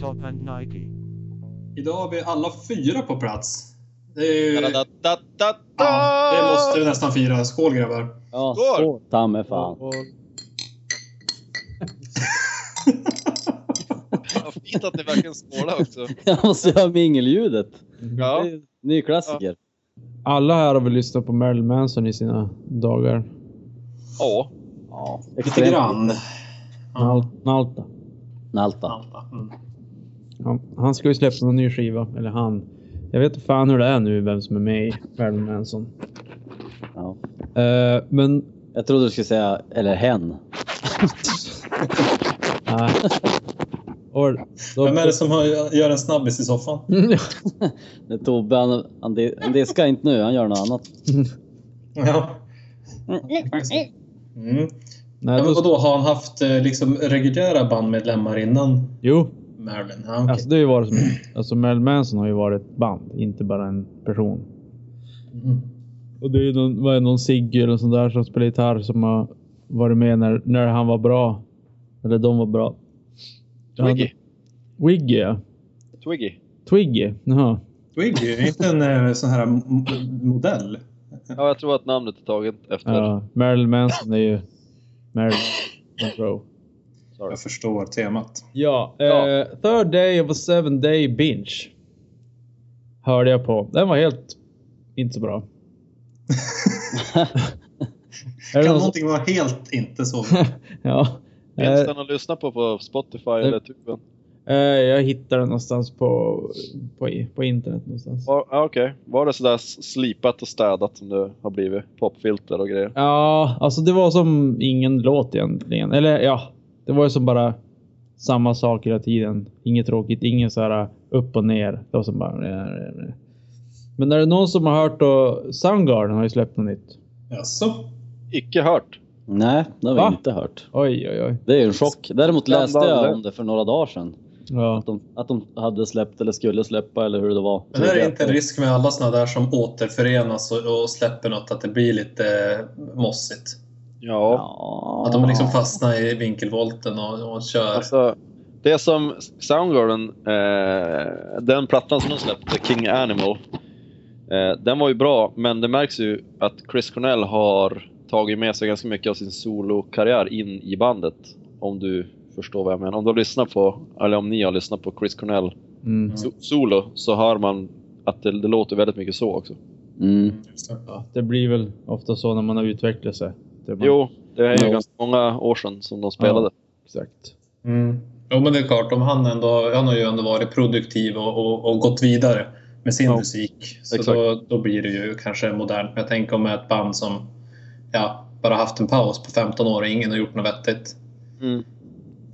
Top and Nike. Idag har vi alla fyra på plats. Det är ju... Da, da, da, da, da. Ja, det måste vi nästan fira. Skål grabbar! Ja, Skål! skål ta mig fan. Och Vad fint att ni verkligen skålar också. Jag måste göra mingelljudet. Ja. Det är en Ny klassiker. Alla här har väl lyssnat på Marilyn Manson i sina dagar. ja. Ja. Lite grann. Ja. Nal- Nalta. Nalta. Mm. Ja, han ska ju släppa någon ny skiva. Eller han. Jag vet inte fan hur det är nu, vem som är med i Marilyn Manson. Ja. Eh, men... Jag trodde du skulle säga, eller hen. Nej. Och, då, Vem är det som har, gör en snabbis i soffan? Det är Tobbe, han, han, di- han diskar inte nu, han gör något annat. Ja. Mm. Nej, Ja, men då, vadå, har han haft eh, liksom reguljära bandmedlemmar innan jo, Marilyn? Ja, okej. alltså det har ju varit som... Alltså Marilyn Manson har ju varit ett band, inte bara en person. Mm. Och det är ju någon, vad är det, någon Sigge eller sån där som spelar gitarr som har varit med när, när han var bra. Eller de var bra. Twiggy. Han, Wiggy ja. Twiggy. Twiggy, jaha. Twiggy, är inte en eh, sån här m- modell? Ja, jag tror att namnet är taget efter. Ja, Marilyn Manson är ju Marilyn Monroe. Jag förstår temat. Ja, Ja. eh, Third Day of a Seven Day Binge. Hörde jag på. Den var helt... Inte så bra. Är Kan det någon som- någonting vara helt inte så? Ja. Finns Eh, den att lyssna på på Spotify eller tuben? eh, jag hittade den någonstans på, på, på internet någonstans. Var- Ja, Okej. Var det sådär s- slipat och städat som det har blivit? Popfilter och grejer? Ja, alltså det var som ingen låt egentligen. Eller ja, det var ju som bara samma sak hela tiden. Inget tråkigt, ingen så här upp och ner. Det var som bara... Men är det någon som har hört då? Soundgarden har ju släppt något nytt. Jaså? Icke hört. Nej, det har vi Va? inte hört. Oj, oj, oj. Det är ju en chock. Däremot Skandal, läste jag eller? om det för några dagar sedan. Ja. Att de, att de hade släppt eller skulle släppa eller hur det var. Men är det inte en risk med alla såna där som återförenas och, och släpper något att det blir lite eh, mossigt? Ja. Ja. Att de liksom fastnar i vinkelvolten och, och kör. Alltså, det som Soundgarden, eh, den plattan som de släppte, King Animal, eh, den var ju bra, men det märks ju att Chris Cornell har tagit med sig ganska mycket av sin solokarriär in i bandet. Om du förstår vad jag menar. Om du har lyssnat på, eller om ni har lyssnat på Chris Cornell Mm. so- solo, så hör man att det, det låter väldigt mycket så också. Mm. Just det. Ja, det blir väl ofta så när man har utvecklat sig. Det är bara- Jo, det är ju Ja. ganska många år sedan som de spelade. Exakt. Mm. Jo, men det är klart, om han, ändå, han har ju ändå varit produktiv och, och, och gått vidare med sin Ja, musik. Så exakt. då, då blir det ju kanske modernt. Men jag tänker om ett band som ja, bara haft en paus på 15 år och ingen har gjort något vettigt. Mm.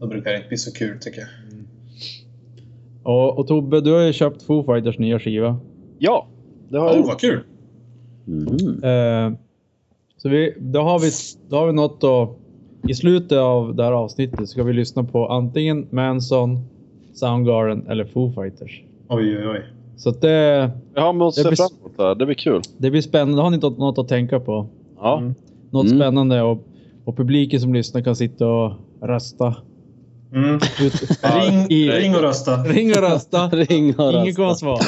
Då brukar det inte bli så kul tycker jag. Och, och Tobbe, du har ju köpt Foo Fighters nya skiva. Ja, det har Åh, jag vad kul! Mm. Eh, så vi, då, har vi, då har vi något då. I slutet av det här avsnittet ska vi lyssna på antingen Manson, Soundgarden eller Foo Fighters. Oj, oj, oj. Så att det, Vi har med att Det se blir- fram emot det här. Det blir kul. det blir spännande. Har ni något, något att tänka på? Ja. Mm. Något Mm. spännande och, och publiken som lyssnar kan sitta och rösta. Mm. Ut, Ring, i- ring och rösta! ring och rösta. Ring och rösta. Inget kommer att svara.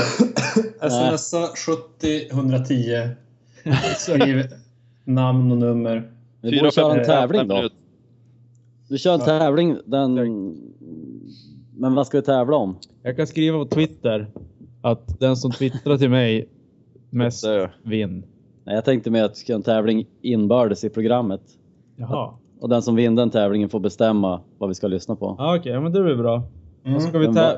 Smsa 70 110. Skriv namn och nummer. Vi borde köra en fem tävling då. Vi kör en tävling den... Men vad ska vi tävla om? Jag kan skriva på Twitter att den som twittrar till mig mest Det- vinn. Nej, jag tänkte med att vi ska göra en tävling inbördes i programmet. Jaha. Och den som vinner den tävlingen får bestämma vad vi ska lyssna på. Ja, Okej, ja, men det blir bra. Mm. Ska vi Men tä-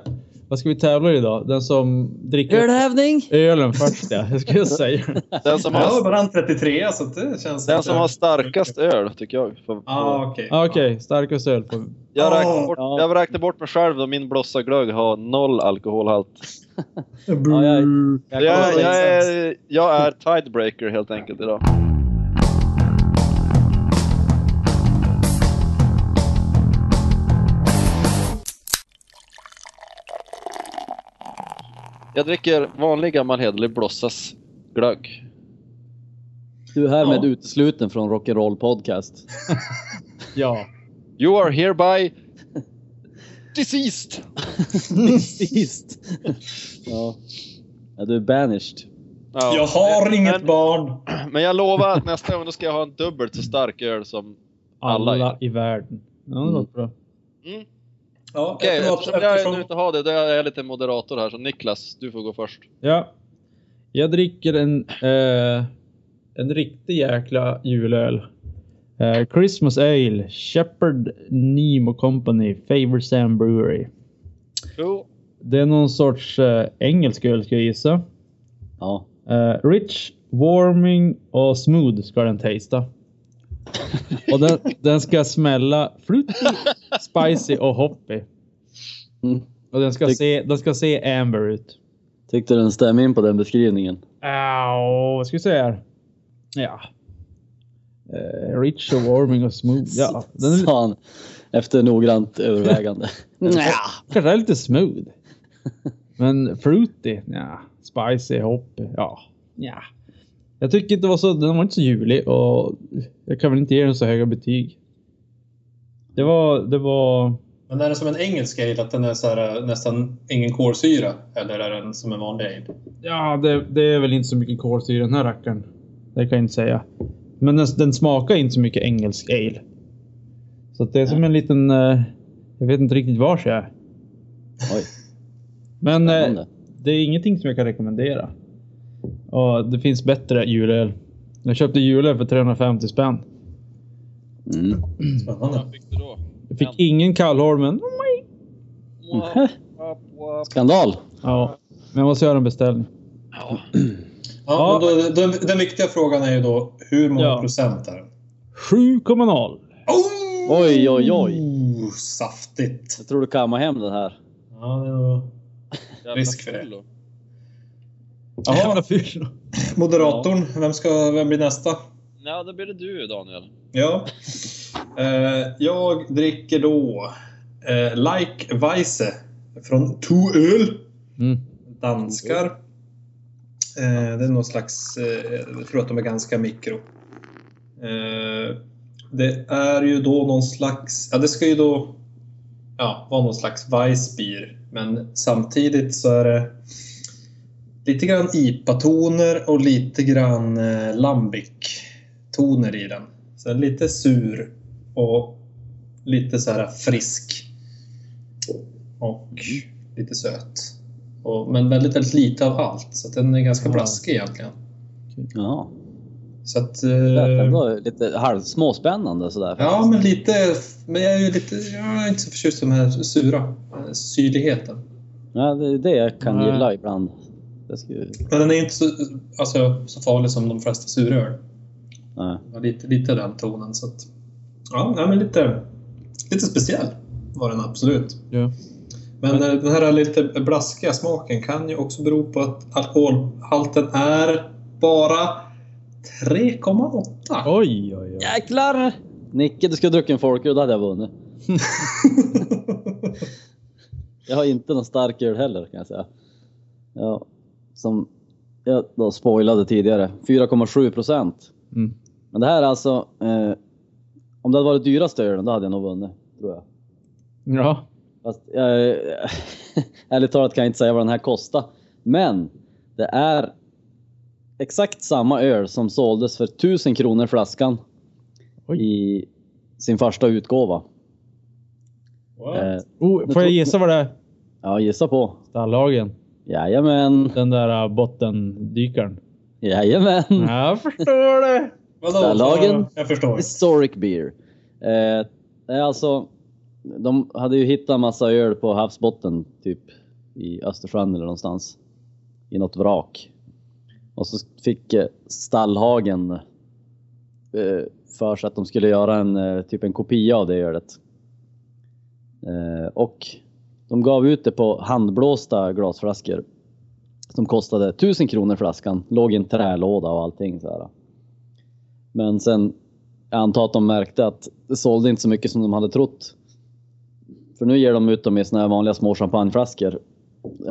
vad ska vi tävla i idag? Den som dricker Ölhävning! ölen först ja, jag skulle säga. Den som, Jag har har, bara en 33 så att det känns... den inte- som har starkast öl tycker jag. För, Ah, okej. Ah, Okej, starkast öl. På... jag, räknar Ah. bort, Ja. jag räknar bort mig själv då min blossaglögg har noll alkoholhalt. Ja, jag, Jag, jag, jag, kommer- är, jag är tidebreaker helt enkelt idag. Jag dricker vanlig gammal hederlig blossas glögg. du är härmed Ja. utesluten från Rock'n'Roll Podcast. Ja. You are hereby deceased! Precis. ja. ja, du är banished. Ja. Jag har inget barn! Men jag lovar att nästa gång då ska jag ha en dubbelt så stark öl som... Alla Alla, i- i världen. Ja, det Mm. låter bra. Mm. Ja, Okej, förlåt, eftersom jag nu inte har det, då är jag lite moderator här. Så Niklas, du får gå först. Ja. Jag dricker en, eh, en riktig jäkla julöl. Eh, Christmas Ale, Shepherd Nemo Company, Favor Sam Brewery. Jo. Det är någon sorts eh, engelsk öl ska jag gissa. Ja. Eh, rich, warming och smooth ska den tasta. Och den, den ska smälla fruity, spicy och hoppy. Mm. Och den ska, Tyck- se, den ska se amber ut. Tyckte den stämde in på den beskrivningen. Au, vad ska vi säga här? Ja. Eh, rich och warming och smooth. Ja, den är lite, Sa han efter noggrant övervägande. Nja. kanske är lite smooth. Men fruity? Ja. Spicy, hoppy? Ja. ja. Jag tycker inte det var så, den var inte så julig och jag kan väl inte ge den så höga betyg. Det var, det var... Men är det som en engelsk ale, att den är så här, eh, nästan ingen kolsyra? Eller är den som en vanlig ale? Ja, det, det är väl inte så mycket kolsyra i den här rackaren. Det kan jag inte säga. Men den, den smakar inte så mycket engelsk ale. Så att det är som en liten... eh, jag vet inte riktigt vars jag är. Oj, Men eh, spännande. det är ingenting som jag kan rekommendera. Och det finns bättre julöl. Jag köpte julöl för 350 spänn. Mm. Spännande. Vad fick du då? Jag fick ingen Kallholmen. Wap, wap, wap. Skandal. Ja, men jag måste göra en beställning. Ja. Ja, men då, den, den viktiga frågan är ju då, hur många Ja. procent är den? 7,0. Oh! Oj, oj, oj. Oh, saftigt! Jag tror du kammar hem den här. Ja, det var... Jävla Risk för det. fyllo. Jaha, fyra. moderatorn. Vem, ska, vem blir nästa? Ja, då blir det du Daniel. Ja. Eh, jag dricker då eh, Like Weisse från Tuöl. Mm. Danskar. Eh, det är någon slags... Eh, jag tror att de är ganska mikro. Eh, det är ju då någon slags... Ja, det ska ju då ja, vara någon slags Weissbier. Men samtidigt så är det lite grann IPA-toner och lite grann eh, lambic-toner i den. Så den är lite sur och lite så här frisk. Och lite söt. Och, men väldigt, väldigt lite av allt. Så att den är ganska Ja. blaskig egentligen. Ja. Så att... Det Eh, var lite halvsmåspännande sådär. ja, men lite... Men jag är ju lite... Jag är inte så förtjust i den här sura eh, syrligheten. Ja, det är det jag kan Nej. gilla ibland. Det ska ju... Men den är inte så, alltså, så farlig som de flesta suröl. Nej. Det var Lite, lite den tonen. Så att, ja, nej, men lite, lite speciell var den absolut. Ja. Men eh, den här lite blaskiga smaken kan ju också bero på att alkoholhalten är bara 3,8. Oj, oj, oj. Jäklar! Nicke, du skulle ha druckit en folköl, då hade jag vunnit. Jag har inte någon stark öl heller kan jag säga. Ja, som jag då spoilade tidigare, 4,7 procent. Mm. Men det här är alltså, eh, om det hade varit dyraste ölen, då hade jag nog vunnit, tror jag. Ja. Fast jag, ärligt talat kan jag inte säga vad den här kostar. Men det är exakt samma öl som såldes för 1000 kronor flaskan Oj. i sin första utgåva. Wow. Eh, Oh, får jag gissa vad det är? ja, gissa på. Stallagen. Jajamän, Den där uh, bottendykaren. jajamän. Jag förstår det. Vadå? Lagen- Mm. Jag förstår. Historic beer. Eh, det är alltså, de hade ju hittat massa öl på havsbotten, typ i Östersjön eller någonstans. I något vrak. Och så fick eh, Stallhagen eh, för sig att de skulle göra en, eh, typ en kopia av det ölet. Eh, och de gav ut det på handblåsta glasflaskor. Som kostade 1000 kronor flaskan, låg i en trälåda och allting. Så här. Men sen jag antar att de märkte att det sålde inte så mycket som de hade trott. För nu ger de ut dem i såna här vanliga små champagneflaskor.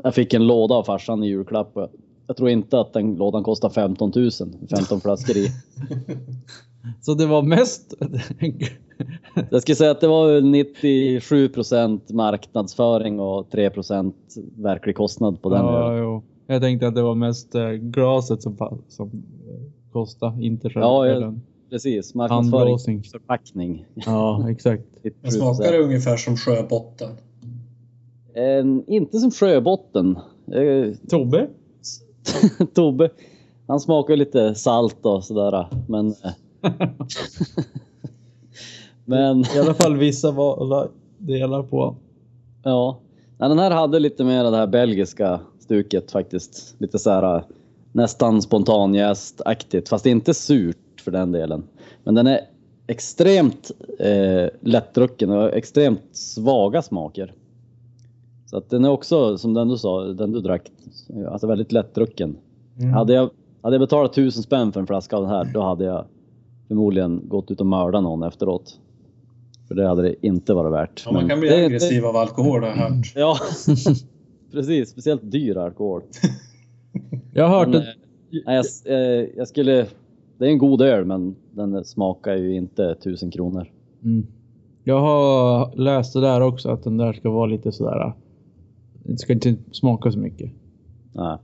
Jag fick en låda av farsan i julklapp. och Jag tror inte att den lådan kostar 15 000. 15 flaskor i. Så det var mest Jag skulle säga att det var väl 97 marknadsföring och 3 verklig kostnad på den. Ja, Ja, jo. Jag tänkte att det var mest eh, glaset som, fa- som eh, kostade, inte själva Ja, jag- ölen. precis. Marknadsföring, Handblåsning. förpackning. Ja, exakt. 97%. Den smakar Mm. ungefär som sjöbotten. En, inte som sjöbotten. Eh, Tobbe? Tobbe, han smakar lite salt och sådär. Men... eh. men I alla fall vissa vala- delar på. ja, Nej, den här hade lite mer av det här belgiska stuket faktiskt. Lite så här nästan spontanjästaktigt, fast inte surt för den delen. Men den är extremt eh, lättdrucken och extremt svaga smaker. Så att den är också, som den du sa, den du drack, alltså väldigt lättdrucken. Mm. Hade jag, hade jag betalat tusen spänn för en flaska av den här, då hade jag förmodligen gått ut och mördat någon efteråt. För det hade det inte varit värt. Ja, man Men kan bli Mm. det- Mm. aggressiv av alkohol har jag hört. Det, ja, precis. Speciellt dyr alkohol. Jag har hört Men, att... eh, nej, jag, eh, jag skulle... Det är en god öl, men den smakar ju inte tusen kronor. Mm. Jag har läst det där också, att den där ska vara lite sådär... Den ska inte smaka så mycket. Nej.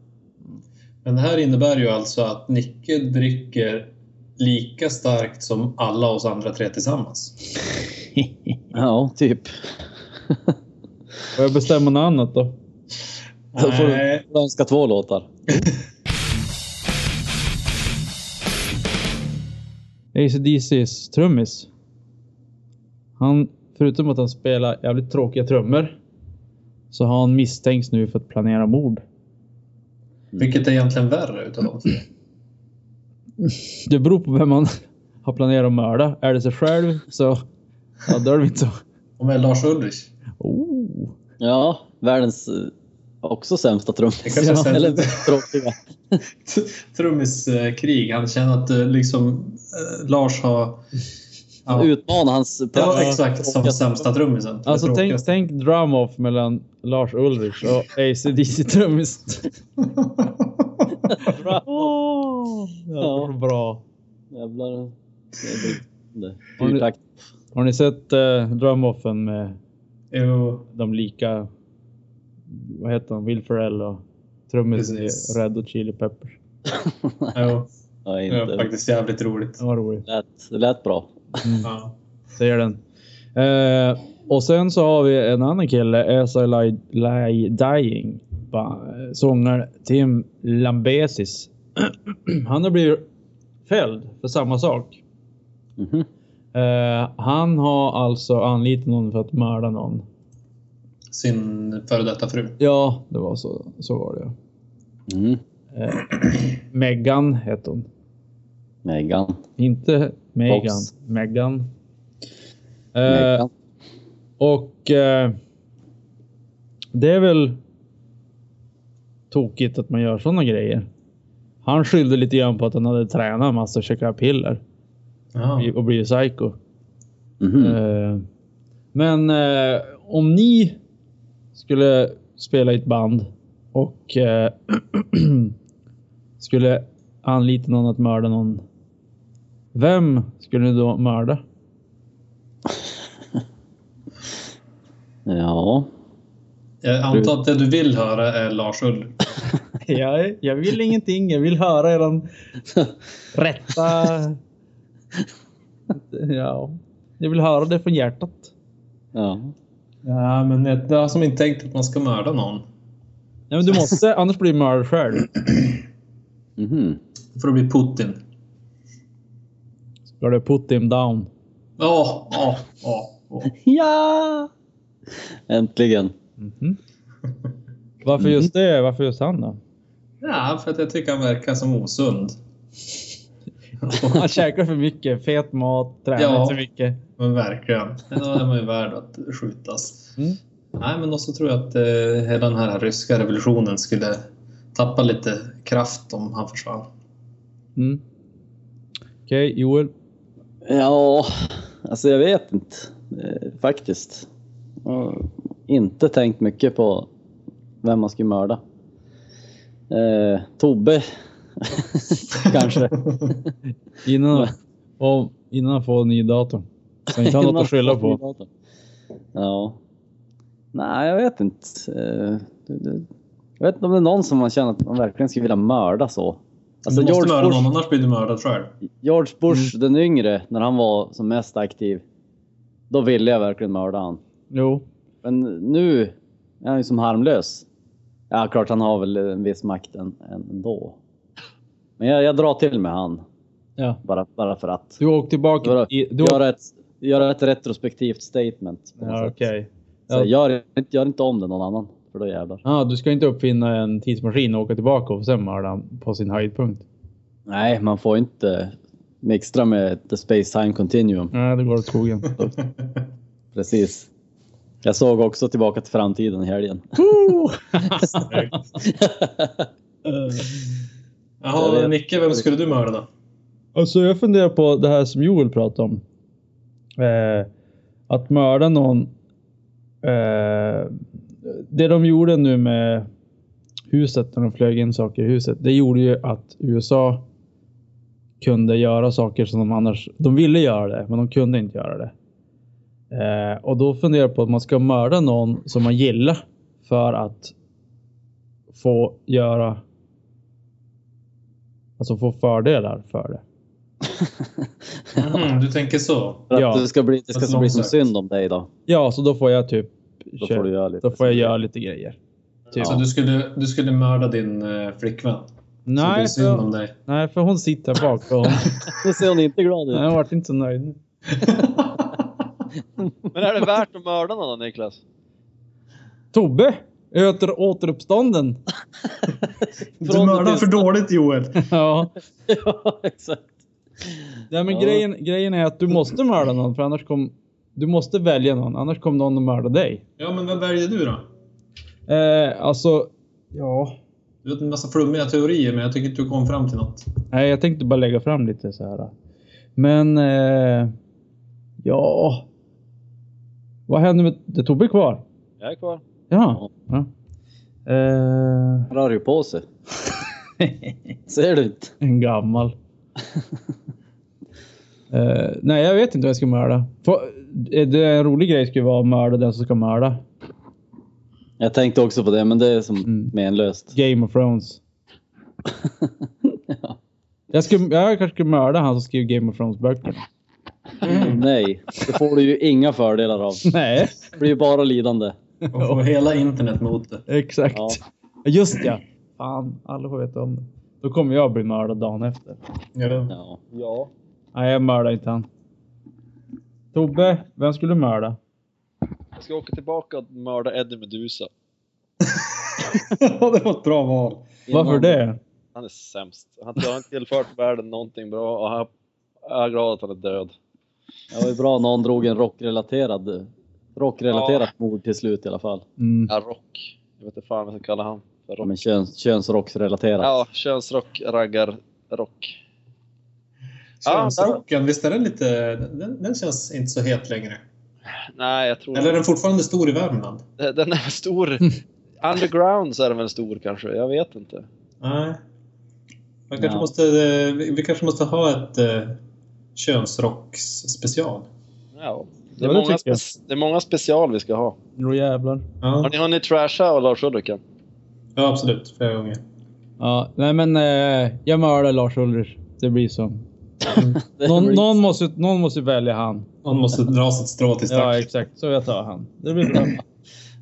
Men det här innebär ju alltså att Nicke dricker lika starkt som alla oss andra tre tillsammans. Ja, typ. Får jag bestämma något annat då? Då får Nej. du önska två låtar. ACDC's trummis. Han, förutom att han spelar jävligt tråkiga trummor, så har han misstänks nu för att planera mord. Vilket är egentligen värre utav dem? Det beror på vem man har planerat att mörda. Är det sig själv så... Ja, då är det inte så... Om det är Lars Ulrich? Oh. Ja, världens eh, också sämsta Det kanske är trummis. sämst. Eller tråkiga. Trummiskrig. Han känner att eh, liksom, eh, Lars har... Ja, Utmana hans... ja, exakt. Som tråkiga- sämsta trummisen. Det Alltså tänk, tråkigaste. tänk drum-off mellan Lars Ulrich och AC/DC trummis. Åh, det var bra. Jävlar. Det är Har ni- Fyrtakt. Har ni sett eh, drum-offen med Jo, de lika... Vad heter han? Will Ferrell och trummisen i Precis. Red Hot Chili Peppers. jo, Ja, det var inte. faktiskt jävligt roligt. Det var roligt. Det lät, det lät bra. Ja. Säger den. Eh, och sen så har vi en annan kille, As I Lie, Lie Dying. ba- Sångare Tim Lambesis. Han har blivit fälld för samma sak. Mhm. Eh, han har alltså anlitat någon för att mörda någon. Sin före detta fru. Ja, det var så. Så var det ja. Mm. Megan hette hon. Megan. Inte Megan. Fox. Megan. Eh, Megan. Och eh, det är väl tokigt att man gör sådana grejer. Han skyllde lite grann på att han hade tränat en massa och käkat piller Ja. och blivit psycho. Mhm. Eh, Men eh, om ni skulle spela i ett band och eh, skulle anlita någon att mörda någon. Vem skulle ni då mörda? Ja. Jag antar att det du vill höra är Lars Ulrich. Jag, jag vill ingenting. Jag vill höra eran rätta... Ja, jag vill höra det från hjärtat. ja. Ja, men det det har som inte tänkt att man ska mörda någon. Nej, men du måste, annars blir du mördad själv. Mhm. Då får det bli Putin. Ska du put him down? Ja, ja, ja. ja. Ja! Äntligen. Mhm. Varför just det? Varför just han då? Ja, för att jag tycker han verkar som osund. Han käkar för mycket, fet mat, tränar Ja. inte så mycket. Men verkligen. Då är man ju värd att skjutas. Mm. Nej, men också tror jag att eh, hela den här ryska revolutionen skulle tappa lite kraft om han försvann. Mm. Okej, Joel. Ja, alltså jag vet inte. eh, Faktiskt. Jag har inte tänkt mycket på vem man skulle mörda. Eh, Tobbe. Kanske. Innan, och, innan han får en ny dator. Kan inte ha något att skylla på. Ja. Nej, jag vet inte. Eh, det- det- Jag vet inte om det är någon som man känner att man verkligen skulle vilja mörda så. Alltså du måste George mörda någon, Bush, annars blir du mördad själv. George Mm. Bush den yngre, när han var som mest aktiv, då ville jag verkligen mörda han. Jo. Men nu är han ju som harmlös. Ja, klart han har väl en viss makt än- ändå. Men jag, jag drar till med han, Ja. bara, bara för att. Du åker tillbaka. Göra, I, du åker, göra, ett, göra ett retrospektivt statement. på något ja, sätt. okej. Så Ja. gör, inte- gör inte om det någon annan, för då jävlar. Ja, du ska inte uppfinna en tidsmaskin och åka tillbaka och sen mörda han på sin höjdpunkt. Nej, man får inte mixtra med the space time continuum. Nej, det går åt skogen. Precis. Jag såg också Tillbaka till framtiden i helgen. Jaha, Jag vet. men Micke, vem skulle du mörda? Alltså jag funderar på det här som Joel pratade om. Eh, att mörda någon. Eh, det de gjorde nu med huset, när de flög in saker i huset. Det gjorde ju att USA kunde göra saker som de annars... De ville göra det, men de kunde inte göra det. Eh, och då funderar jag på att man ska mörda någon som man gillar för att få göra... Alltså få fördelar för det. Mhm, du tänker så. För att Ja. det ska bli, det ska Fast så bli som långsökt. synd om dig då. Ja, så då får jag typ... Då får du göra lite. Då får jag göra typ- lite grejer. Så Ja. Alltså, du, skulle, du skulle mörda din eh, flickvän? Så det Nej blir synd för, om dig. nej, för hon sitter här bak. För hon, Nu ser hon inte glad jag ut. vart inte så nöjd. Men är det värt att mörda någon då, Niklas? Tobbe! Öter återuppstånden. Du mördar för dåligt Joel. ja. ja, exakt. Nej, men Ja. Grejen, grejen är att du måste mörda någon för annars kom, Du måste välja någon, annars kommer någon att mörda dig. Ja, men vem väljer du då? Eh, alltså... Ja. Du vet en massa flummiga teorier, men jag tycker inte du kom fram till något. Nej, jag tänkte bara lägga fram lite så här. Men... Eh, ja... Vad händer med... Det är Tobbe kvar? Jag är kvar. Ja. ja. Eh, Han rör ju på sig. Ser du inte? En gammal. Eh, nej, jag vet inte vad jag ska mörda. Få- eh, Det är en rolig grej skulle vara att mörda den som ska mörda. Jag tänkte också på det, men det är som Mm. menlöst. Game of Thrones. Ja. Jag, skulle, jag kanske skulle mörda han som skriver Game of Thrones-böckerna. Nej, det får du ju inga fördelar av. Nej, Det blir ju bara lidande. Och får hela internet mot det. exakt. Ja. Just ja. Fan, alla får veta om det. Då kommer jag bli mördad dagen efter. Ja. Ja. Ja. Nej, jag mördar inte han. Tobbe, vem skulle du mörda? Jag ska åka tillbaka och mörda Eddie Meduza. det var ett bra val. Varför det? Han är sämst. Han har inte tillfört världen någonting bra och han- jag är glad att han är död. Ja, Det var ju bra någon drog en rockrelaterad rockrelaterat mord till slut i alla fall. Mm. Ja, rock. Jag vet inte fan vad jag ska kalla han. För rock. Men köns, könsrocksrelaterat. Ja, könsrock, raggar, rock. Könsrocken, visst är den lite... Den, den känns inte så het längre. Mm. Nej, jag tror Eller är den fortfarande stor i Värmland? Den är stor. Underground så är den väl stor kanske, jag vet inte. Nej. Man kanske Ja. måste, eh, vi vi kanske måste ha ett eh, könsrocksspecial. Ja. Det, Ja, är det många tycker jag. spe- det är många special vi ska ha. Jo jävlar. Har Ja. ni hunnit trasha och Lars Ulrika? ja, absolut. Flera gånger. Ja, nej men eh, jag mördar Lars Ulrich. Det blir så. Det Någon, blir- någon, måste, någon måste välja han. Man måste dra sitt strå till Ja, stack. exakt. Så jag tar han. Det blir bra.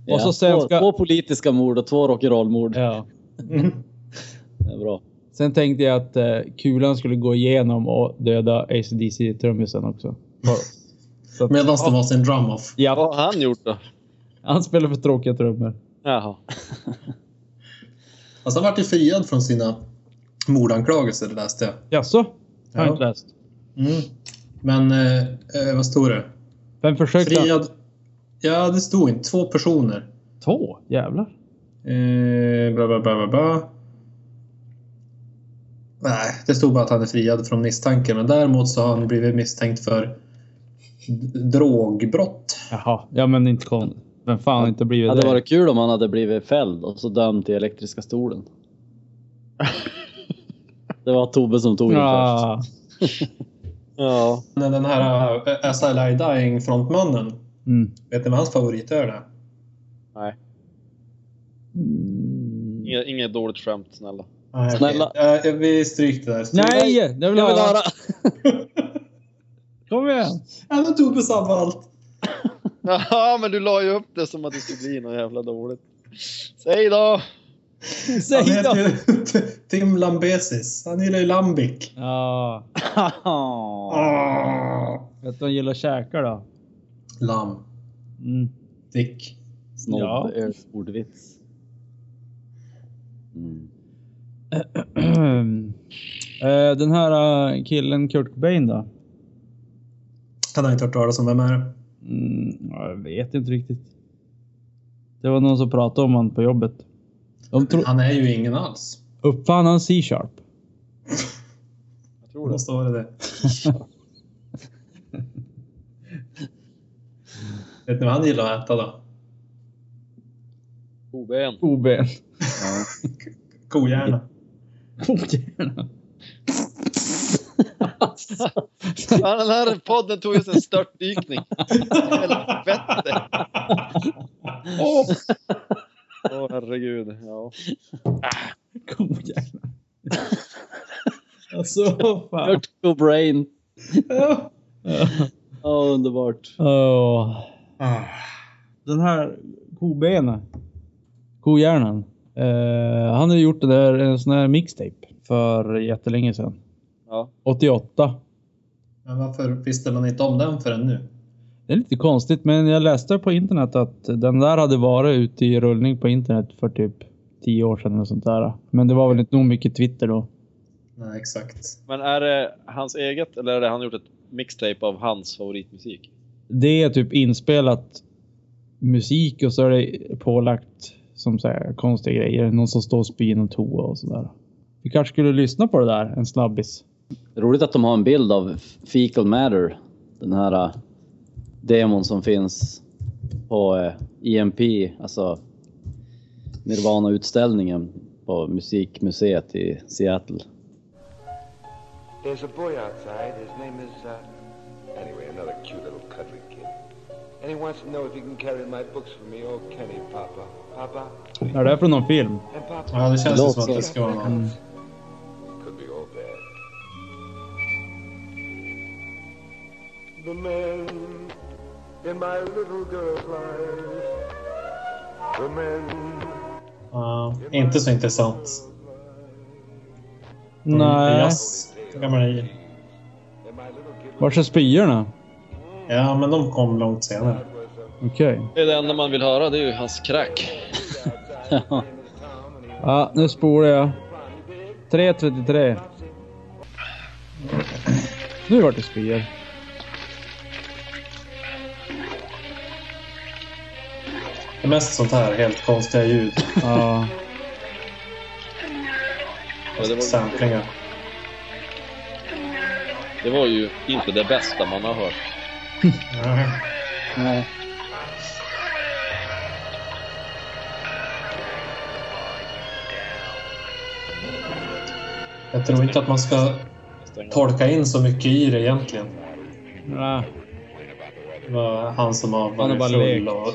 ja. Och så sen två, två ska... politiska mord och två rock'n'roll-mord. Ja. Mm. Det är bra. Sen tänkte jag att eh, kulan skulle gå igenom och döda ACDC-trummisen också. Bara- Så att, Medan det var sin drum-off. Vad ja, har han gjort då? han spelar för tråkiga trummor. Jaha. Alltså, han vart ju friad från sina mordanklagelser, det läste jag. Jaså? Har jag Ja. inte läst. Mm. Men eh, eh, vad stod det? Vem försökte han? Friad... Ja, det stod inte. Två personer. Två? Jävlar. Eh, bla, bla, bla, bla, bla. Nej, det stod bara att han är friad från misstanke. Men däremot så har han blivit misstänkt för d- drogbrott. Jaha. Ja, men inte kon. Vem fan har inte Det blivit hade det? varit kul om han hade blivit fälld och så dömd till elektriska stolen. Ah. Det var Tobbe som tog den först. Ja. Ja. Men Den här eh, As I Lie Dying frontmannen, Mm. vet ni vad hans favoritöl är? Mm. Inget, inget dåligt skämt, snälla. Nej, okej. Snälla. Eh, vi stryker det där. Stryk. Nej! Jag vill, Jag vill höra! Kom igen! Ja, men tog på samma allt. Ja, men du la ju upp det som att det skulle bli något jävla dåligt. Säg då! Han Säg heter då! ju Tim Lambesis. Han gillar ju Lambic. Ja. Ah, Vet du vad de gillar att käka då? Lam. Mm. Dick. Ja. Snobböl-ordvits. Mm. Eh, Den här eh, killen Kurt Cobain då? Han har inte hört talas om vem är det. Mm, ja, jag vet inte riktigt. Det var någon som pratade om honom på jobbet. De tro- Han är ju ingen alls. uppfann han C-sharp? Jag Det tror det. måste vara det. Vet ni vad han gillar att äta då? Koben. OB. Ja. Kohjärna. Ja, Den här podden tog ju en störtdykning. Helvete! Åh, Åh, herregud. Ja. Godhjärna. alltså, vad fan. Kurt Cobain. Ja. Ja, underbart. Åh. Ah. Den här kobenen. Kohjärnan. Eh, han har ju gjort det där, en sån här mixtape för jättelänge sedan. Ja. 88. Men varför visste man inte om den förrän nu? Det är lite konstigt, men jag läste på internet att den där hade varit ute i rullning på internet för typ 10 år sedan eller sånt där. Men det var väl inte nog mycket Twitter då. Nej, exakt. Men är det hans eget eller är det han gjort ett mixtape av hans favoritmusik? Det är typ inspelat musik och så är det pålagt som så här konstiga grejer. Någon som står och spyr i någon toa och sådär. Vi kanske skulle lyssna på det där, en snabbis. Roligt att de har en bild av Fecal Matter. Den här eh, demon som finns på eh, EMP, alltså Nirvana-utställningen på Musikmuseet i Seattle. There's a boy outside. His name is, uh, anyway, another cute little country kid. And he wants to know if he can carry my books for me. Oh, can he, Papa? Papa? Är det här från någon film? And Papa? Ja, det känns ju som att det Låter- ska vara någon. Could be all bad. The man in my little girl's life. The man. Ja, inte så intressant. Mm, Nej. Jazz, gammal i. In my little kid Vars är spyorna? Ja, men de kom långt senare. was a Okej. Det är det enda man vill höra, det är ju hans crack. outside. His name is Tom, and he Ja, nu spolar jag. 3.33. Nu vart det spyor. Det är mest sånt här helt konstiga ljud. Ja. Ja, det, var, Samplingar. det var ju inte det bästa man har hört. Ja. Mm-hmm. Nej. Jag tror inte att man ska Stäng av. tolka in så mycket i det egentligen. ja. Det var han som har Han har varit bara full lekt. och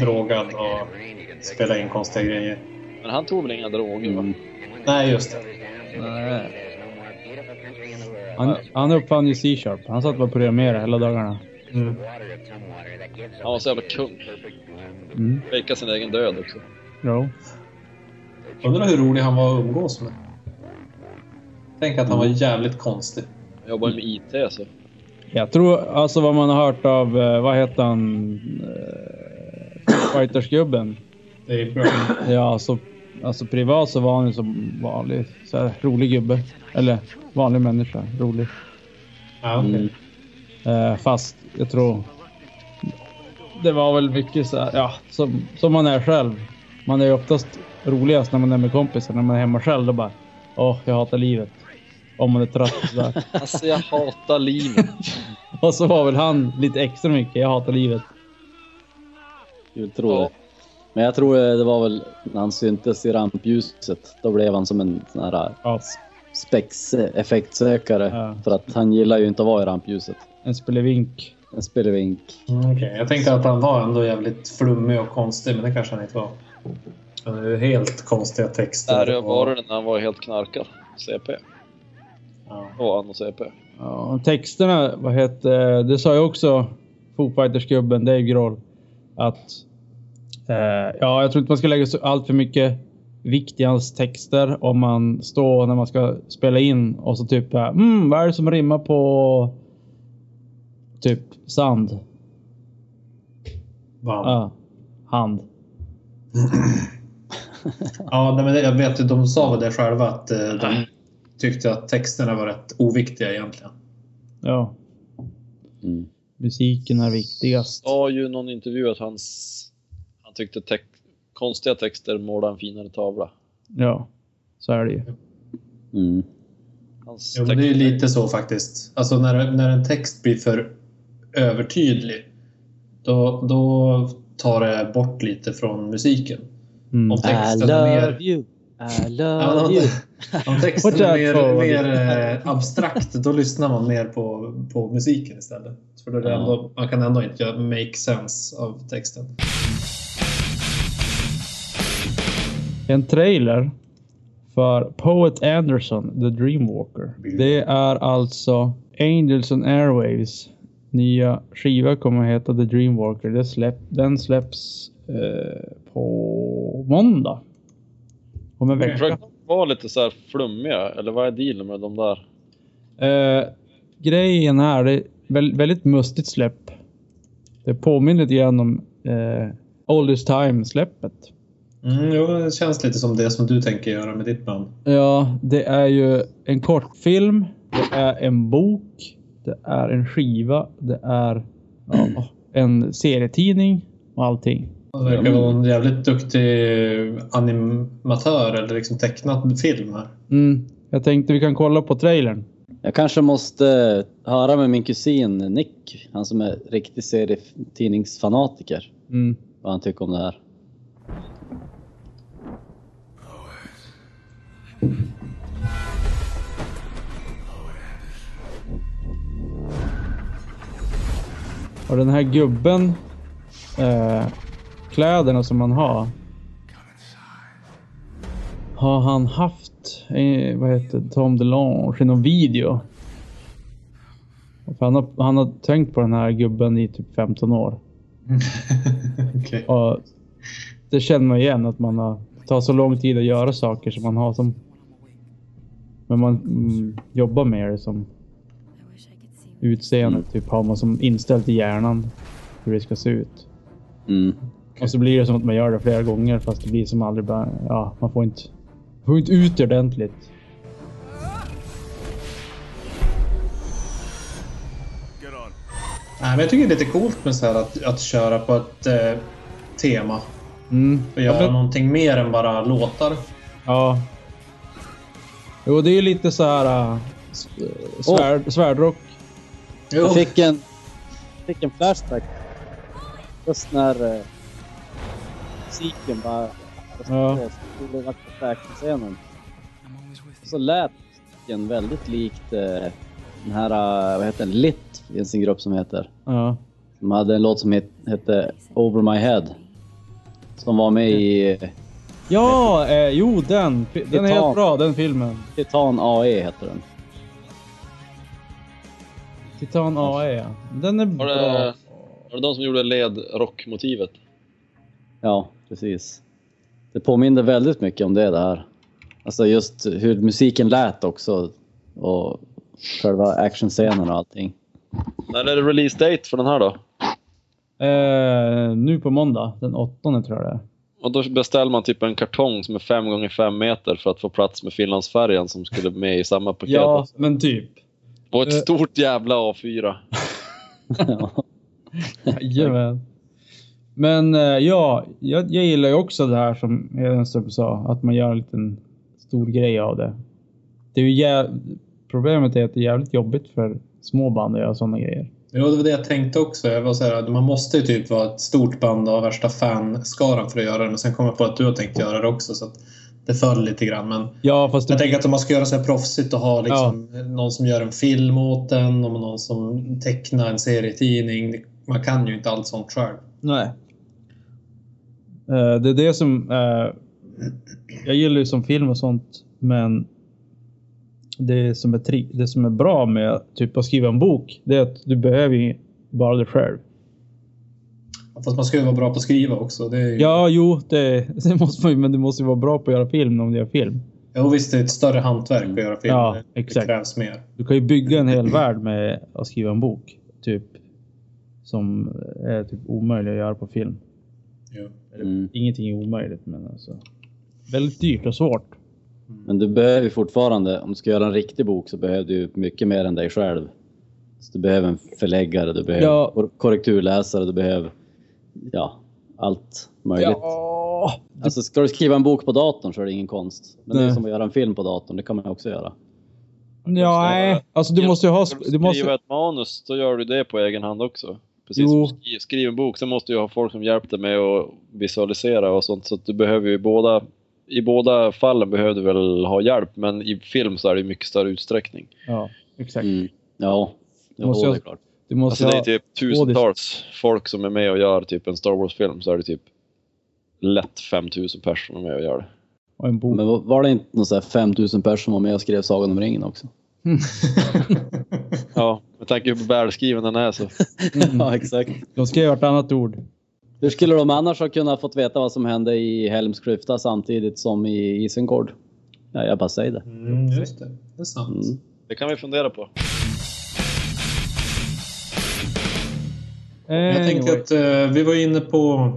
drogad och spelat in konstiga grejer. Men han tog väl inga droger? Va? Mm. Nej, just det. Han, han uppfann ju C-sharp. Han satt bara och programmerade hela dagarna. Mm. Han var så jävla kung. Mm. Fejkade sin egen död också. Jo. Undrar hur rolig han var att umgås med. Tänk att han var jävligt konstig. Han jobbar ju med IT så. Jag tror, alltså vad man har hört av, eh, vad heter han? Eh, Fightersgubben. Det är bra. Ja, alltså, alltså privat så var han ju som vanlig, så här, rolig gubbe. Eller vanlig människa, rolig. Ja, okej. Eh, fast jag tror... Det var väl mycket så här, ja, som, som man är själv. Man är ju oftast roligast när man är med kompisar. När man är hemma själv då bara... Åh, jag hatar livet. Om man är trött och sådär. Alltså jag hatar livet. och så var väl han lite extra mycket. Jag hatar livet. Jag tror Ja. det. Men jag tror eh, det var väl när han syntes i rampljuset. Då blev han som en sån här Ja. spexeffektsökare. Ja. För att han gillar ju inte att vara i rampljuset. En spelevink. En spelevink. Mm, okej. Jag tänkte att han var ändå jävligt flummig och konstig, men det kanske han inte var. Han är ju helt konstiga texter. Där jag och- var det när han var helt knarkad. CP. Ja. Och han och CP. Ja, och texterna, vad heter det? sa ju också Foo Fighters-gubben Dave Grohl. Att... Eh, ja, jag tror inte man ska lägga så allt för mycket vikt i hans texter om man står när man ska spela in och så typ eh, mm, vad är det som rimmar på typ sand? Van. Ja, hand. Ja, nej, men det- jag vet ju, de sa väl det själva att eh, de tyckte att texterna var rätt oviktiga egentligen. Ja, Mm. musiken är viktigast. Sa ju någon intervju att hans, han tyckte tex- konstiga texter målade en finare tavla. Ja, så är det ju. Mm. Hans Jo, men det är ju texter- lite så faktiskt. Alltså när, när en text blir för övertydlig, då, då tar det bort lite från musiken. Mm. Om I texten är mer... love you. I Ja, love om, you. om texten Watch out är mer, for- mer eh, abstrakt, då lyssnar man mer på, på musiken istället. För då är det Ja. ändå, man kan ändå inte göra make sense av texten. En trailer för Poet Anderson, The Dreamwalker. Det är alltså Angels and Airwaves nya skiva kommer att heta The Dreamwalker. Det släpp, den släpps eh, på måndag. Om en Jag vecka. försökte vara lite så här flummiga, eller vad är dealen med de där? Eh, grejen här, det är väl- väldigt mustigt släpp. Det påminner lite grann om eh, Oldest Time-släppet. Mm, jo, det känns lite som det som du tänker göra med ditt band. Ja, det är ju en kortfilm, det är en bok, det är en skiva, det är ja, en serietidning och allting. Han verkar vara en jävligt duktig animatör eller liksom tecknad film här. Mm, jag tänkte vi kan kolla på trailern. Jag kanske måste eh, höra med min kusin Nick, han som är riktig serietidningsfanatiker, Mm. vad han tycker om det här. Och den här gubben, eh, kläderna som han har. Har han haft, eh, vad heter det, Tom DeLonge i någon video? För han, har, han har tänkt på den här gubben i typ 15 år. Okej. Och det känner man igen att man har, det tar så lång tid att göra saker som man har som... Men man mm, jobbar med det som I wish I could see what utseende. Typ har man som inställt i hjärnan hur det ska se ut. Mm. Och så blir det som att man gör det flera gånger fast det blir som aldrig bara... Ja, man får inte, man får inte ut det ordentligt. Nej, men jag tycker det är lite coolt med så här att, att köra på ett eh, tema Mm. och göra men- någonting mer än bara låtar. Ja. Jo, det är ju lite så här... äh, s- äh, Svärd, Svärdrock. Jo, Jag fick en, fick en flashback. Just när eh, musiken bara... Ja. Ja. Skulle vara på säkerhetsscenen. Och så lät musiken väldigt likt eh, den här, eh, vad heter den, Litt finns en grupp som heter. Ja. De hade en låt som het, hette Over My Head. Som var med i eh, Ja, eh, jo den. Fi- Den är Titan. helt bra, den filmen. Titan AE heter den. Titan AE, ja. Den är Var bra. det, var det de som gjorde ledrockmotivet? Ja, precis. Det påminner väldigt mycket om det där. Alltså just hur musiken lät också. Och själva actionscenen och allting. När är det release date för den här då? Eh, nu på måndag, den åttonde tror jag det är. Och då beställer man typ en kartong som är 5 gånger 5 meter för att få plats med Finlandsfärjan som skulle med i samma paket. Ja, men typ. Och ett eh. stort jävla A4. Jajamän. Men eh, ja, jag, jag gillar ju också det här som Hedenström sa, att man gör en liten stor grej av det. det är ju jä- Problemet är att det är jävligt jobbigt för små band att göra sådana grejer. jo, det var det jag tänkte också. Jag var så här, att man måste ju typ vara ett stort band av värsta fanskaran för att göra det, men sen kom jag på att du har tänkt göra det också. Så att det föll lite grann. Men Ja, fast jag det, tänker att om man ska göra så här proffsigt och ha liksom någon som gör en film åt en och någon som tecknar en serietidning. Man kan ju inte allt sånt själv. nej. Eh, det är det som... eh, jag gillar ju som film och sånt, men det som är, tri- det som är bra med typ att skriva en bok, det är att du behöver ju bara dig själv. Fast man ska ju vara bra på att skriva också. Det är ju, Ja, jo, det, det måste man ju, men du måste ju vara bra på att göra film om du gör film. Jo, visst, det är ett större hantverk att göra film. Ja, Det- exakt. Det krävs mer. Du kan ju bygga en hel värld med att skriva en bok. Typ. Som är typ omöjlig att göra på film. Jo. Mm. Ingenting är omöjligt men alltså. Väldigt dyrt och svårt. Men du behöver ju fortfarande, om du ska göra en riktig bok så behöver du ju mycket mer än dig själv. Så du behöver en förläggare, du behöver Ja. kor- korrekturläsare, du behöver ja, allt möjligt. Ja. Alltså ska du skriva en bok på datorn så är det ingen konst. Men det är Nej. som att göra en film på datorn, det kan man ju också göra. Ja, Eh, nej. Alltså du måste ju ha... Ska sp- Du måste, skriva ett manus, då gör du det på egen hand också. Precis Jo. som du skri- skriver en bok, så måste du ha folk som hjälper dig med att visualisera och sånt. Så att du behöver ju båda... I båda fallen behöver du väl ha hjälp, men i film så är det ju mycket större utsträckning. ja, exakt. Mm. Ja, det, jo, Måste jag- det är klart. Du måste Alltså det är ha... typ tusentals folk som är med och gör typ en Star Wars-film, så är det typ lätt 5000 personer med och gör det. ha en bok. Men var- var det inte någon så här 5000 personer som var med och skrev Sagan om ringen också? Ja, med tanke på hur välskriven den är så. ja, exakt. De skrev vartannat ord. Hur skulle de annars ha kunnat fått veta vad som hände i Helms klyfta samtidigt som i Isengård? Ja, jag bara säger det. Mm, just det. Det är sant. Mm. Det kan vi fundera på. Jag tänkte Anyway. att eh, vi var inne på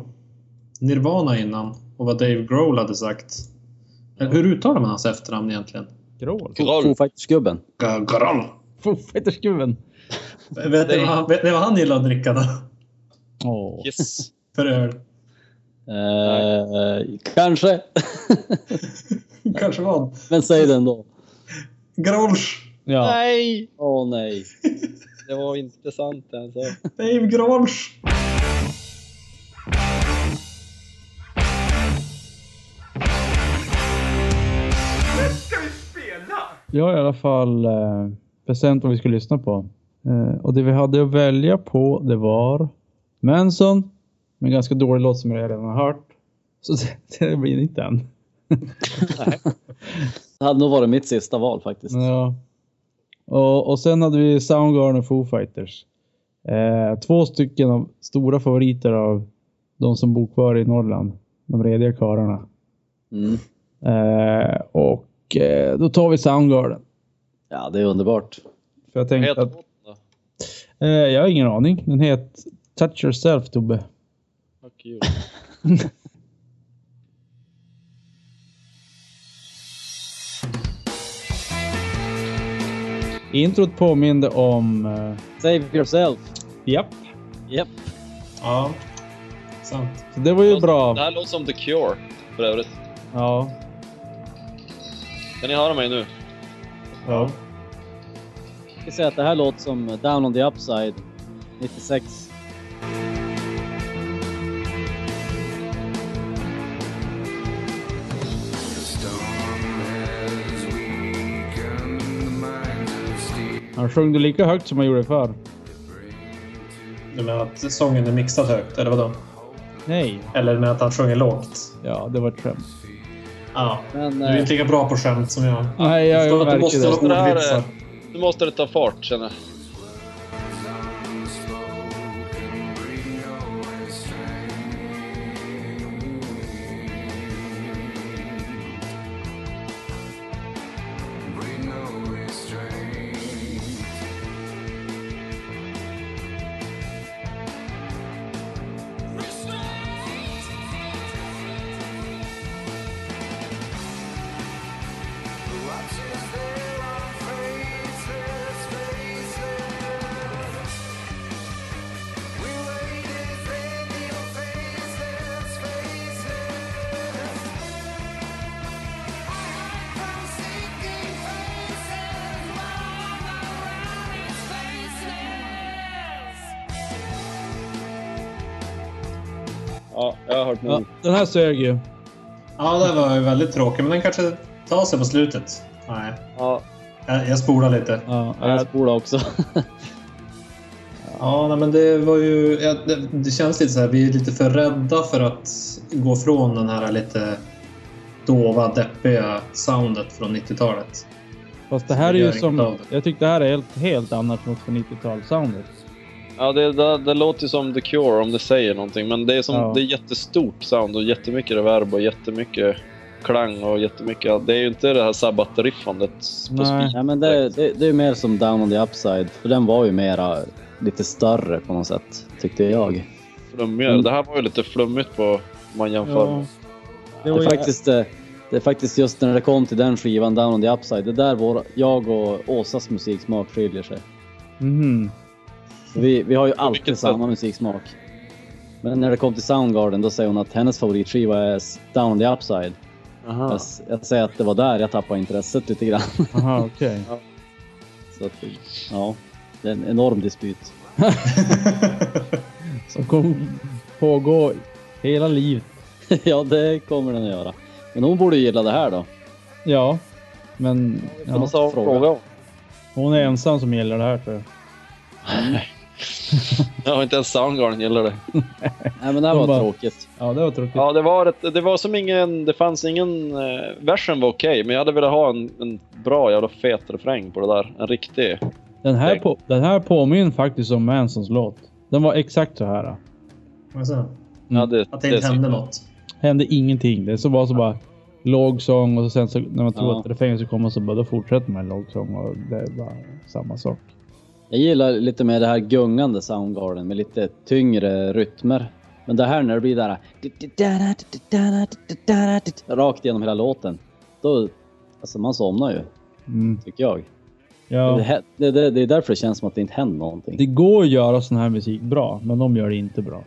Nirvana innan och vad Dave Grohl hade sagt. Eller, hur uttalar man hans efternamn egentligen? Grål. Foo Fighters-gubben. G- Grohl. Fofeterskuven. Vet ni vad han- vet ni vad han gillade att dricka då? Åh. Yes. För öl? Eh, kanske. Kanske var han. Men säg det ändå. Grolsch. Ja. Nej! Åh nej. Det var inte sant alltså. Dave Grolsch. Jag har i alla fall eh, bestämt vad vi ska lyssna på. Eh, och det vi hade att välja på det var Manson. Med en ganska dålig låt som jag redan har hört. Så det, det blir inte än. Det hade nog varit mitt sista val faktiskt. Ja. Och, och sen hade vi Soundgarden och Foo Fighters. Eh, två stycken av stora favoriter av de som bor kvar i Norrland. De rediga karlarna. Mm. Eh, och eh, då tar vi Soundgarden. Ja, det är underbart. För jag Vad tänkte heter att, båten då? eh, jag har ingen aning. Den heter Touch Yourself Tobbe. Vad kul. Introt påminde om... eh, Save yourself. japp. Japp. Ja, sant. Så det var ju Det bra. här låter som The Cure för övrigt. Ja. Kan ni höra mig nu? Ja. Jag ska säga att det här låter som Down on the Upside 96. Han sjöng det lika högt som han gjorde förr. Du menar att sången är mixad högt, eller vadå? Nej. Eller med att han sjunger lågt? Ja, det var ett skämt. Ja. Men, Du är eh, inte lika bra på skämt som jag. Nej, jag Förstår att märker du måste det. ha det. Det här är- ordvitsar. Nu måste det ta fart känner jag. Ja, jag har hört nog. Ja, den här sög ju. Ja, det var ju väldigt tråkigt, men den kanske tar sig på slutet. Nej, Ja, jag, jag spolar lite. Ja, äh, jag spolar också. Ja, nej, men det var ju... Ja, det, det känns lite så här, vi är lite för rädda för att gå från den här lite dova, deppiga soundet från 90-talet. Fast det Så här det är ju gör inget som... av det. Jag tycker det här är helt, helt annat mot 90-talssoundet. ja det, det, det låter ju som The Cure om det säger någonting. Men det är, som, Ja. det är jättestort sound och jättemycket reverb och jättemycket klang och jättemycket... Det är ju inte det här sabbat-riffandet på Nej. speed. Ja, men det, det, det är mer som Down on the Upside, för den var ju mera lite större på något sätt, tyckte jag. Flummigare. Mm. Det här var ju lite flummigt på om man jämför. med- Det Det, var är ju, faktiskt, eh, det är faktiskt just när det kom till den skivan, Down on the Upside, det är där vår, jag och Åsas musiksmak skiljer sig. Mhm. Vi, vi har ju alltid vilket samma musiksmak. Men när det kom till Soundgarden, då säger hon att hennes favoritskiva är S- Down on the Upside. Jag, Aha. s- jag säger att det var där jag tappade intresset lite grann. Aha, okej. Så att, ja, det är en enorm dispyt. Som kommer pågå hela livet. ja, det kommer den att göra. Men hon borde ju gilla det här då. Ja, men... Ja, Ja. Måste ha en fråga. fråga om. Hon är ensam som gäller det här tror jag. Ja, inte ens Soundgarden gillar det. Nej, men det här Hon var bara- tråkigt. Ja, det var tråkigt. Ja, det var, ett, det var som ingen... Det fanns ingen... Eh, versen var okej, men jag hade velat ha en, en bra jävla fet refräng på det där. En riktig. Den, här Tänk. på, den här påminner faktiskt om Mansons låt. Den var exakt så här. Men sen, Ja, det, att det inte är- hände något. Hände ingenting. Det så var så bara låg sång och så sen så, när man tror Ja. att refrängen ska komma så bara då fortsätter man låg sång och det är bara samma sak. Jag gillar lite mer det här gungande Soundgarden med lite tyngre rytmer. Men det här när det blir där... Rakt igenom hela låten. Då... Alltså man somnar ju, Mm. tycker jag. Det, Ja. här- det, det, det är därför det känns som att det inte händer någonting. Det går att göra sån här musik bra, men de gör det inte bra.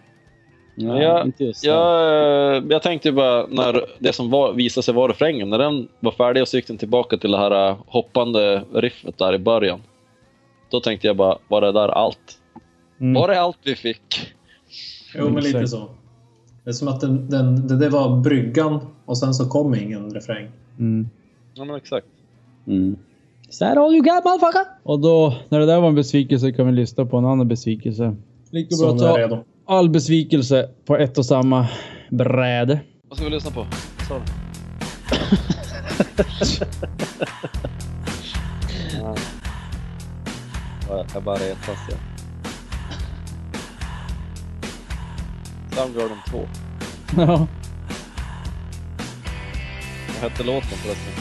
Nej, Ja, inte just det. Jag, eh, jag tänkte ju bara när det som var, visade sig vara refrängen, när den var färdig och så gick den tillbaka till det här eh, hoppande riffet där i början. Då tänkte jag bara, var det där allt? Mm. Var det allt vi fick? Jo, men lite Exakt. så. Det är som att den, den, det, det var bryggan och sen så kom ingen refräng. Mm. Ja, men exakt. Mm. Is that all you got motherfucker? Och då, när det där var en besvikelse kan vi lyssna på en annan besvikelse. Lika bra Så att nu är jag ta redo. all besvikelse på ett och samma bräde. Vad ska vi lyssna på? Så. ja. Jag bara retas jag. Soundgarden 2. Ja. Vad hette låten förresten?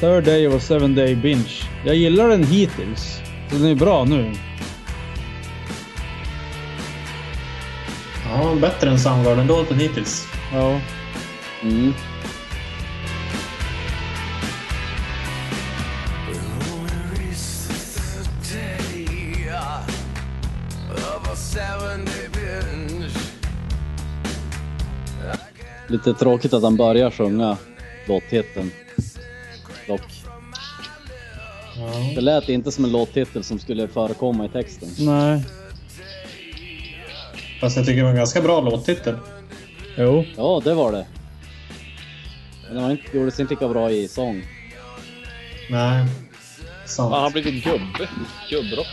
Third Day och Seven Day Binge. Jag gillar den hittills. Den är bra nu. Ja, bättre än Soundgarden-låten hittills. Ja. Mm. Lite tråkigt att han börjar sjunga låttiteln. Dock. Ja. Det lät inte som en låttitel som skulle förekomma i texten. Nej. Fast jag tycker det var en ganska bra låttitel. Jo. Ja, det var det. Men det var inte, gjordes inte lika bra i sång. Nej. Sant. han har blivit gubbe. Gubbrock.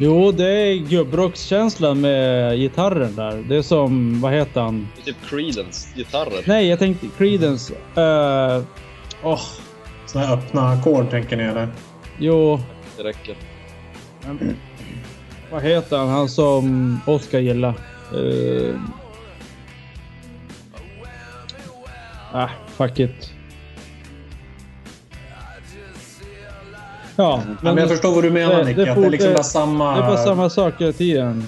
Jo, det är gubbrockskänslan med gitarren där. Det är som, vad heter han? Det är Typ Creedence gitarrer. Nej, jag tänkte Creedence. Eh, Åh, Såna här öppna ackord tänker ni eller? jo. Det räcker. Vad heter han? Han som Oscar gillar. Eh, ah, fuck it. Ja, Men, men jag förstår vad du menar det- Nick. det att det är liksom fort- bara samma... Det är bara samma sak hela tiden.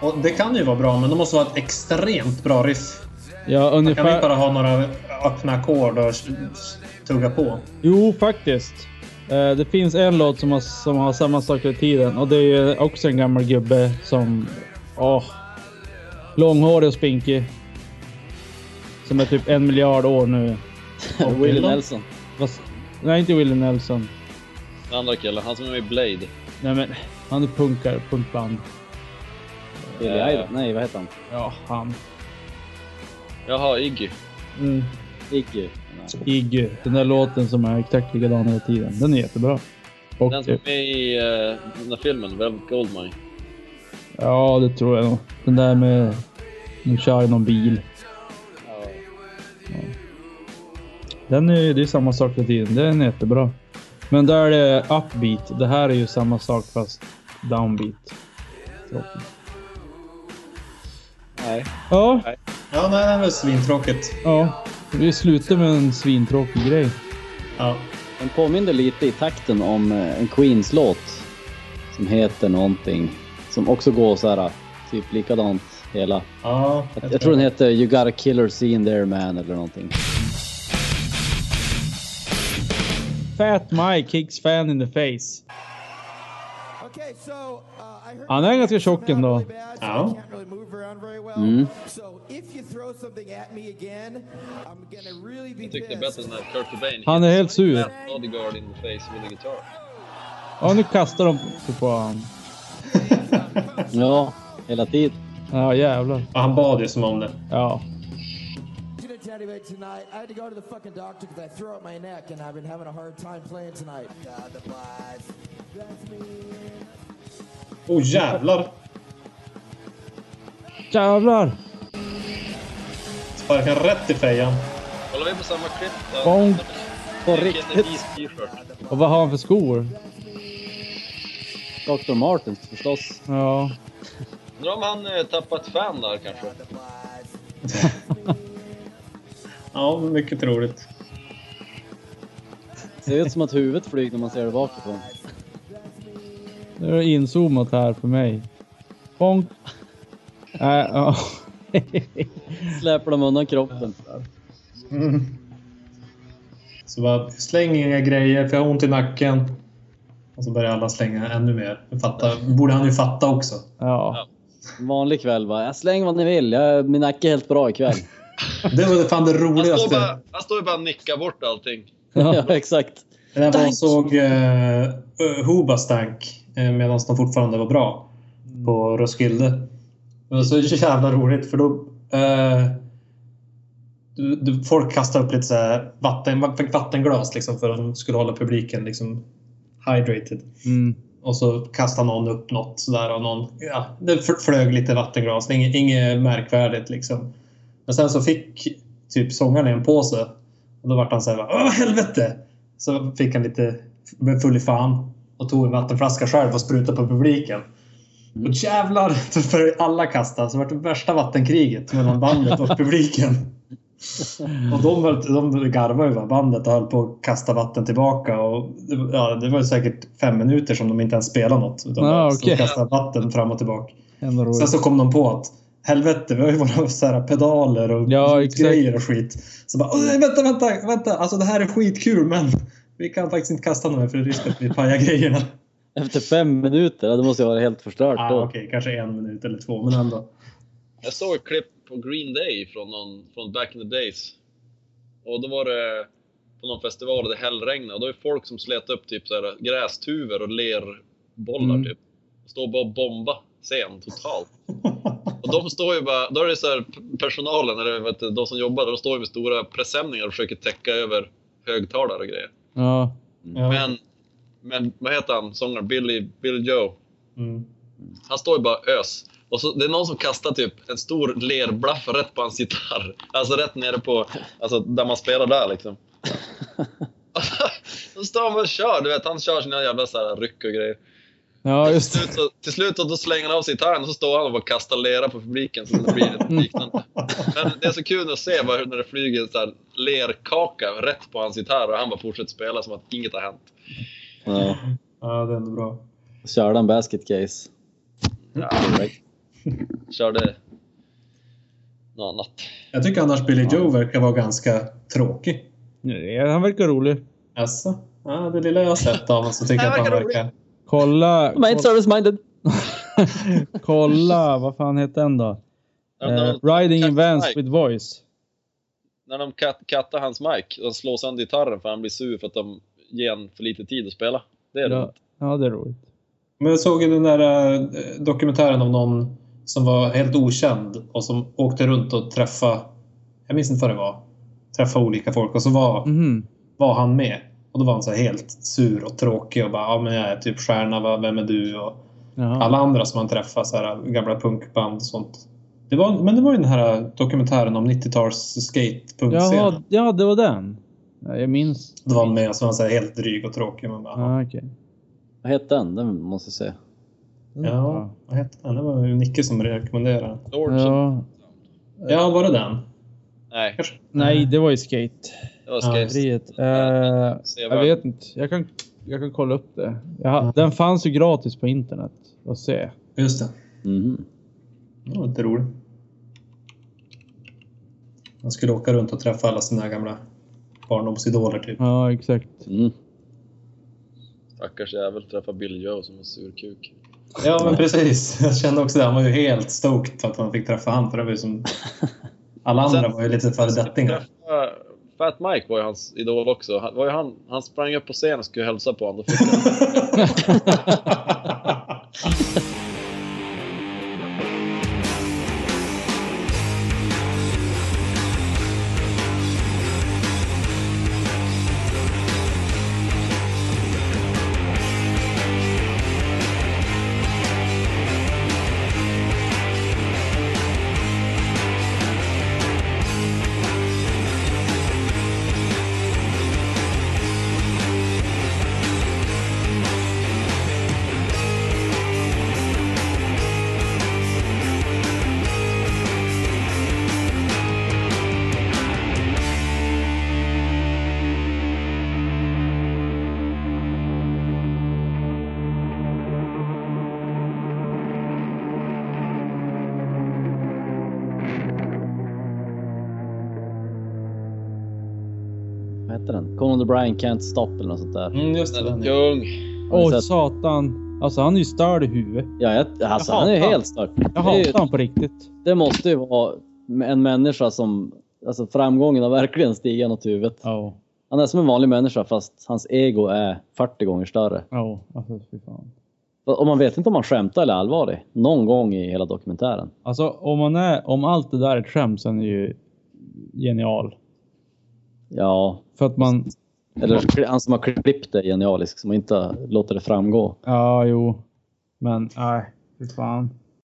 Och det kan ju vara bra, men det måste vara ett extremt bra riff. Ja, Man kan inte ungefär. bara ha några öppna ackord och s- s- tugga på. Jo, faktiskt. Eh, Det finns en låt som har, som har samma sak hela tiden och det är ju också en gammal gubbe som... Åh. långhårig och spinkig. Som är typ en miljard år nu. Bob Willie Dylan? Nelson. Vad s- Nej, inte Willie Nelson. Den andra killen, han som är med i Blade. Nej, men han är punkare, punkband. Billy Idol. Nej, vad heter han? Ja, han. Jaha, Iggy. Mm. Iggy. Nej. Iggy. Den där låten som är exakt likadan hela tiden. Den är jättebra. Och, Den som är med i eh, den där filmen, Velvet Goldmine. Ja, det tror jag nog. Den där med... Nu kör jag någon bil. Den är, det är samma sak hela tiden. Den är jättebra. Men där är det upbeat. Det här är ju samma sak fast downbeat. Tråkigt. Nej. Ja, Ja, nej, det var svintråkigt. ja. Vi slutar med en svintråkig grej. Ja. Den påminner lite i takten om eh, en Queens-låt. Som heter någonting. Som också går så här typ likadant hela. ja Jag, jag tror den heter You got a killer scene there man eller någonting. Fat Mike kicks fan in the face. uh, Han är ganska tjock ändå. Ja. Mm. Jag tyckte bättre när Kurt Cobain Han är helt sur. hit Bodyguard in the face with a guitar. Ja, nu kastar de sig på honom. Ja, hela tiden. Ja, jävlar. Ja, han bad ju som om det. Ja. Did a teddy bear tonight. I had to go to the fucking doctor because I threw out my neck and I've been having a hard time playing tonight. God, the blast. That's me. Oh jävlar! Jävlar! Sparkar rätt i fejan. Kollar vi på samma klipp? där? Bonk. På Nick riktigt. heter East T-shirt. Och vad har han för skor? Dr. Martens förstås. Ja. Undrar om han eh, tappat fan där kanske? Ja, mycket troligt. Ser ut som att huvudet flyger när man ser det bakifrån. Nu är det inzoomat här för mig. Bonk! Nej, ja. Släpar de undan kroppen. Så bara, släng inga grejer för jag har ont i nacken. Och så börjar alla slänga ännu mer. Det Fattar, borde han ju fatta också. Ja. En vanlig kväll va. Jag släng vad ni vill. Jag, min nacke är helt bra ikväll. Det var fan det Han står, roligaste. bara, han står ju bara och nickar bort allting. ja, exakt. Det där man Tack. såg eh, Hobastank eh, medan de fortfarande var bra på Roskilde. Mm. Det var så jävla roligt för då... Eh, du, du, folk kastade upp lite så här vatten, man fick vattenglas liksom för att de skulle hålla publiken liksom hydrated. Mm. Och så kastade någon upp något sådär och någon, ja, det f- flög lite vattenglas. Det är Inget, inget märkvärdigt liksom. Men sen så fick typ sångaren en påse. Och då vart han såhär, åh helvete! Så fick han lite, blev full i fan och tog en vattenflaska själv och sprutade på publiken. Mm. Och jävlar, då började alla kasta. Så vart det värsta vattenkriget mellan bandet och publiken. Och de, höll- de garvade ju bara bandet och höll på att kasta vatten tillbaka. Och det, ja, det var ju säkert fem minuter som de inte ens spelade något. Utan Ah, bara stod okej. och kastade vatten fram och tillbaka. Sen Ändå roligt. så kom de på att helvete, vi har ju våra så här pedaler och Ja, grejer och skit. Så bara, "Åh, nej, vänta, vänta, vänta, alltså det här är skitkul men vi kan faktiskt inte kasta några för det är risk att vi pajar grejerna. Efter fem minuter. ja, Det måste jag vara helt förstört Ah, då. Okej, kanske en minut eller två, men ändå. Jag såg ett klipp på Green Day från, någon, från back in the days. Och då var det på någon festival där det hällregnade och då är det folk som slet upp typ så här grästuvor och lerbollar Mm. typ. Och står bara och bomba scen totalt. Och de står ju bara, då är det så här p- personalen, eller vet du, de som jobbar, de står ju med stora presenningar och försöker täcka över högtalare och grejer. Ja. Ja. Men, men vad heter han, sångaren, Billy, Billy Joe? Mm. Han står ju bara ös. Och så, det är någon som kastar typ en stor lerblaff rätt på hans gitarr. Alltså rätt nere på, alltså där man spelar där liksom. Alltså, Då står han bara och kör, du vet. Han kör sina jävla så här ryck och grejer. Ja, Till just det. slut, så, till slut så, då slänger han av sig gitarren och så står han och bara kastar lera på publiken så det blir ett Mm. liknande. Men det är så kul att se bara hur när det flyger en så här lerkaka rätt på hans gitarr och han bara fortsätter spela som att inget har hänt. Ja. ja, det är ändå bra. Körde en basket case. Mm. Körde något annat. Jag tycker annars Billy Joe verkar vara ganska tråkig. Nej, Han verkar rolig. Alltså, ja, det lilla jag har sett av honom så tycker jag att han verkar verkar... Kolla... Man är inte service-minded. Kolla, vad fan heter den då? Ja, men Eh, de- Riding in Cactus Vans Mike. with Voice. när de kat kattar hans mic, de slår sönder gitarren för han blir sur för att de ger han för lite tid att spela. Det är Ja, det. ja det är roligt. Men jag såg ju den där eh, dokumentären om någon som var helt okänd och som åkte runt och träffade Jag minns inte vad det var. Träffa olika folk och så var, Mhm. var han med. Och då var han så här helt sur och tråkig och bara ja, men jag är typ stjärna, va? vem är du? Och Jaha. alla andra som han träffade, så här, gamla punkband och sånt. Det var, men det var ju den här dokumentären om 90-tals skatepunkscenen. Jaha, ja, det var den. Ja, jag minns. Då var han med och så var han så här helt dryg och tråkig. Man bara, Ah, okej. Vad hette den? Den måste jag se. Ja, vad hette den? Det var ju Nicke som rekommenderade. Lords of... Ja. Ja, var det den? Nej, Kanske. Nej, det var ju skate. det var Ja. Skates. Frihet. Eh, Se jag världen. vet inte. Jag kan, jag kan kolla upp det. Jag, ha- Den fanns ju gratis på internet. Att se. Just det. Mhm. Det var lite roligt. Han skulle åka runt och träffa alla sina gamla barndomsidoler typ. Ja, exakt. Mm. Stackars jävel träffar Bill Joe som en sur kuk. Ja, men precis. Jag kände också det. Han var ju helt stoked för att han fick träffa han. För det var ju som... Alla Sen- andra var ju lite föredettingar. Äh, Fat Mike var ju hans idol också. Han, var ju han, han sprang upp på scenen och skulle hälsa på honom. Då fick han... Vad hette den? Conan O'Brien Can't Stop eller något sånt där. Mm, just det. Den. ja. Kung! Har ni Åh, sett- satan. Alltså, han är ju störd i huvudet. Ja, jag, alltså Jag han är ju hatar- helt stört. Jag Det är ju- hatar honom på riktigt. Det måste ju vara en människa som... Alltså framgången har verkligen stigit åt huvudet. Ja. Han är som en vanlig människa fast hans ego är 40 gånger större. Ja, alltså fy fan. Och man vet inte om han skämtar eller är allvarlig. Någon gång i hela dokumentären. Alltså, om, man är, om allt det där är ett skämt så är han ju genial. Ja, För att man... eller han som har klippt det är genialisk som inte låter det framgå. Ja, jo. Men nej, fy fan.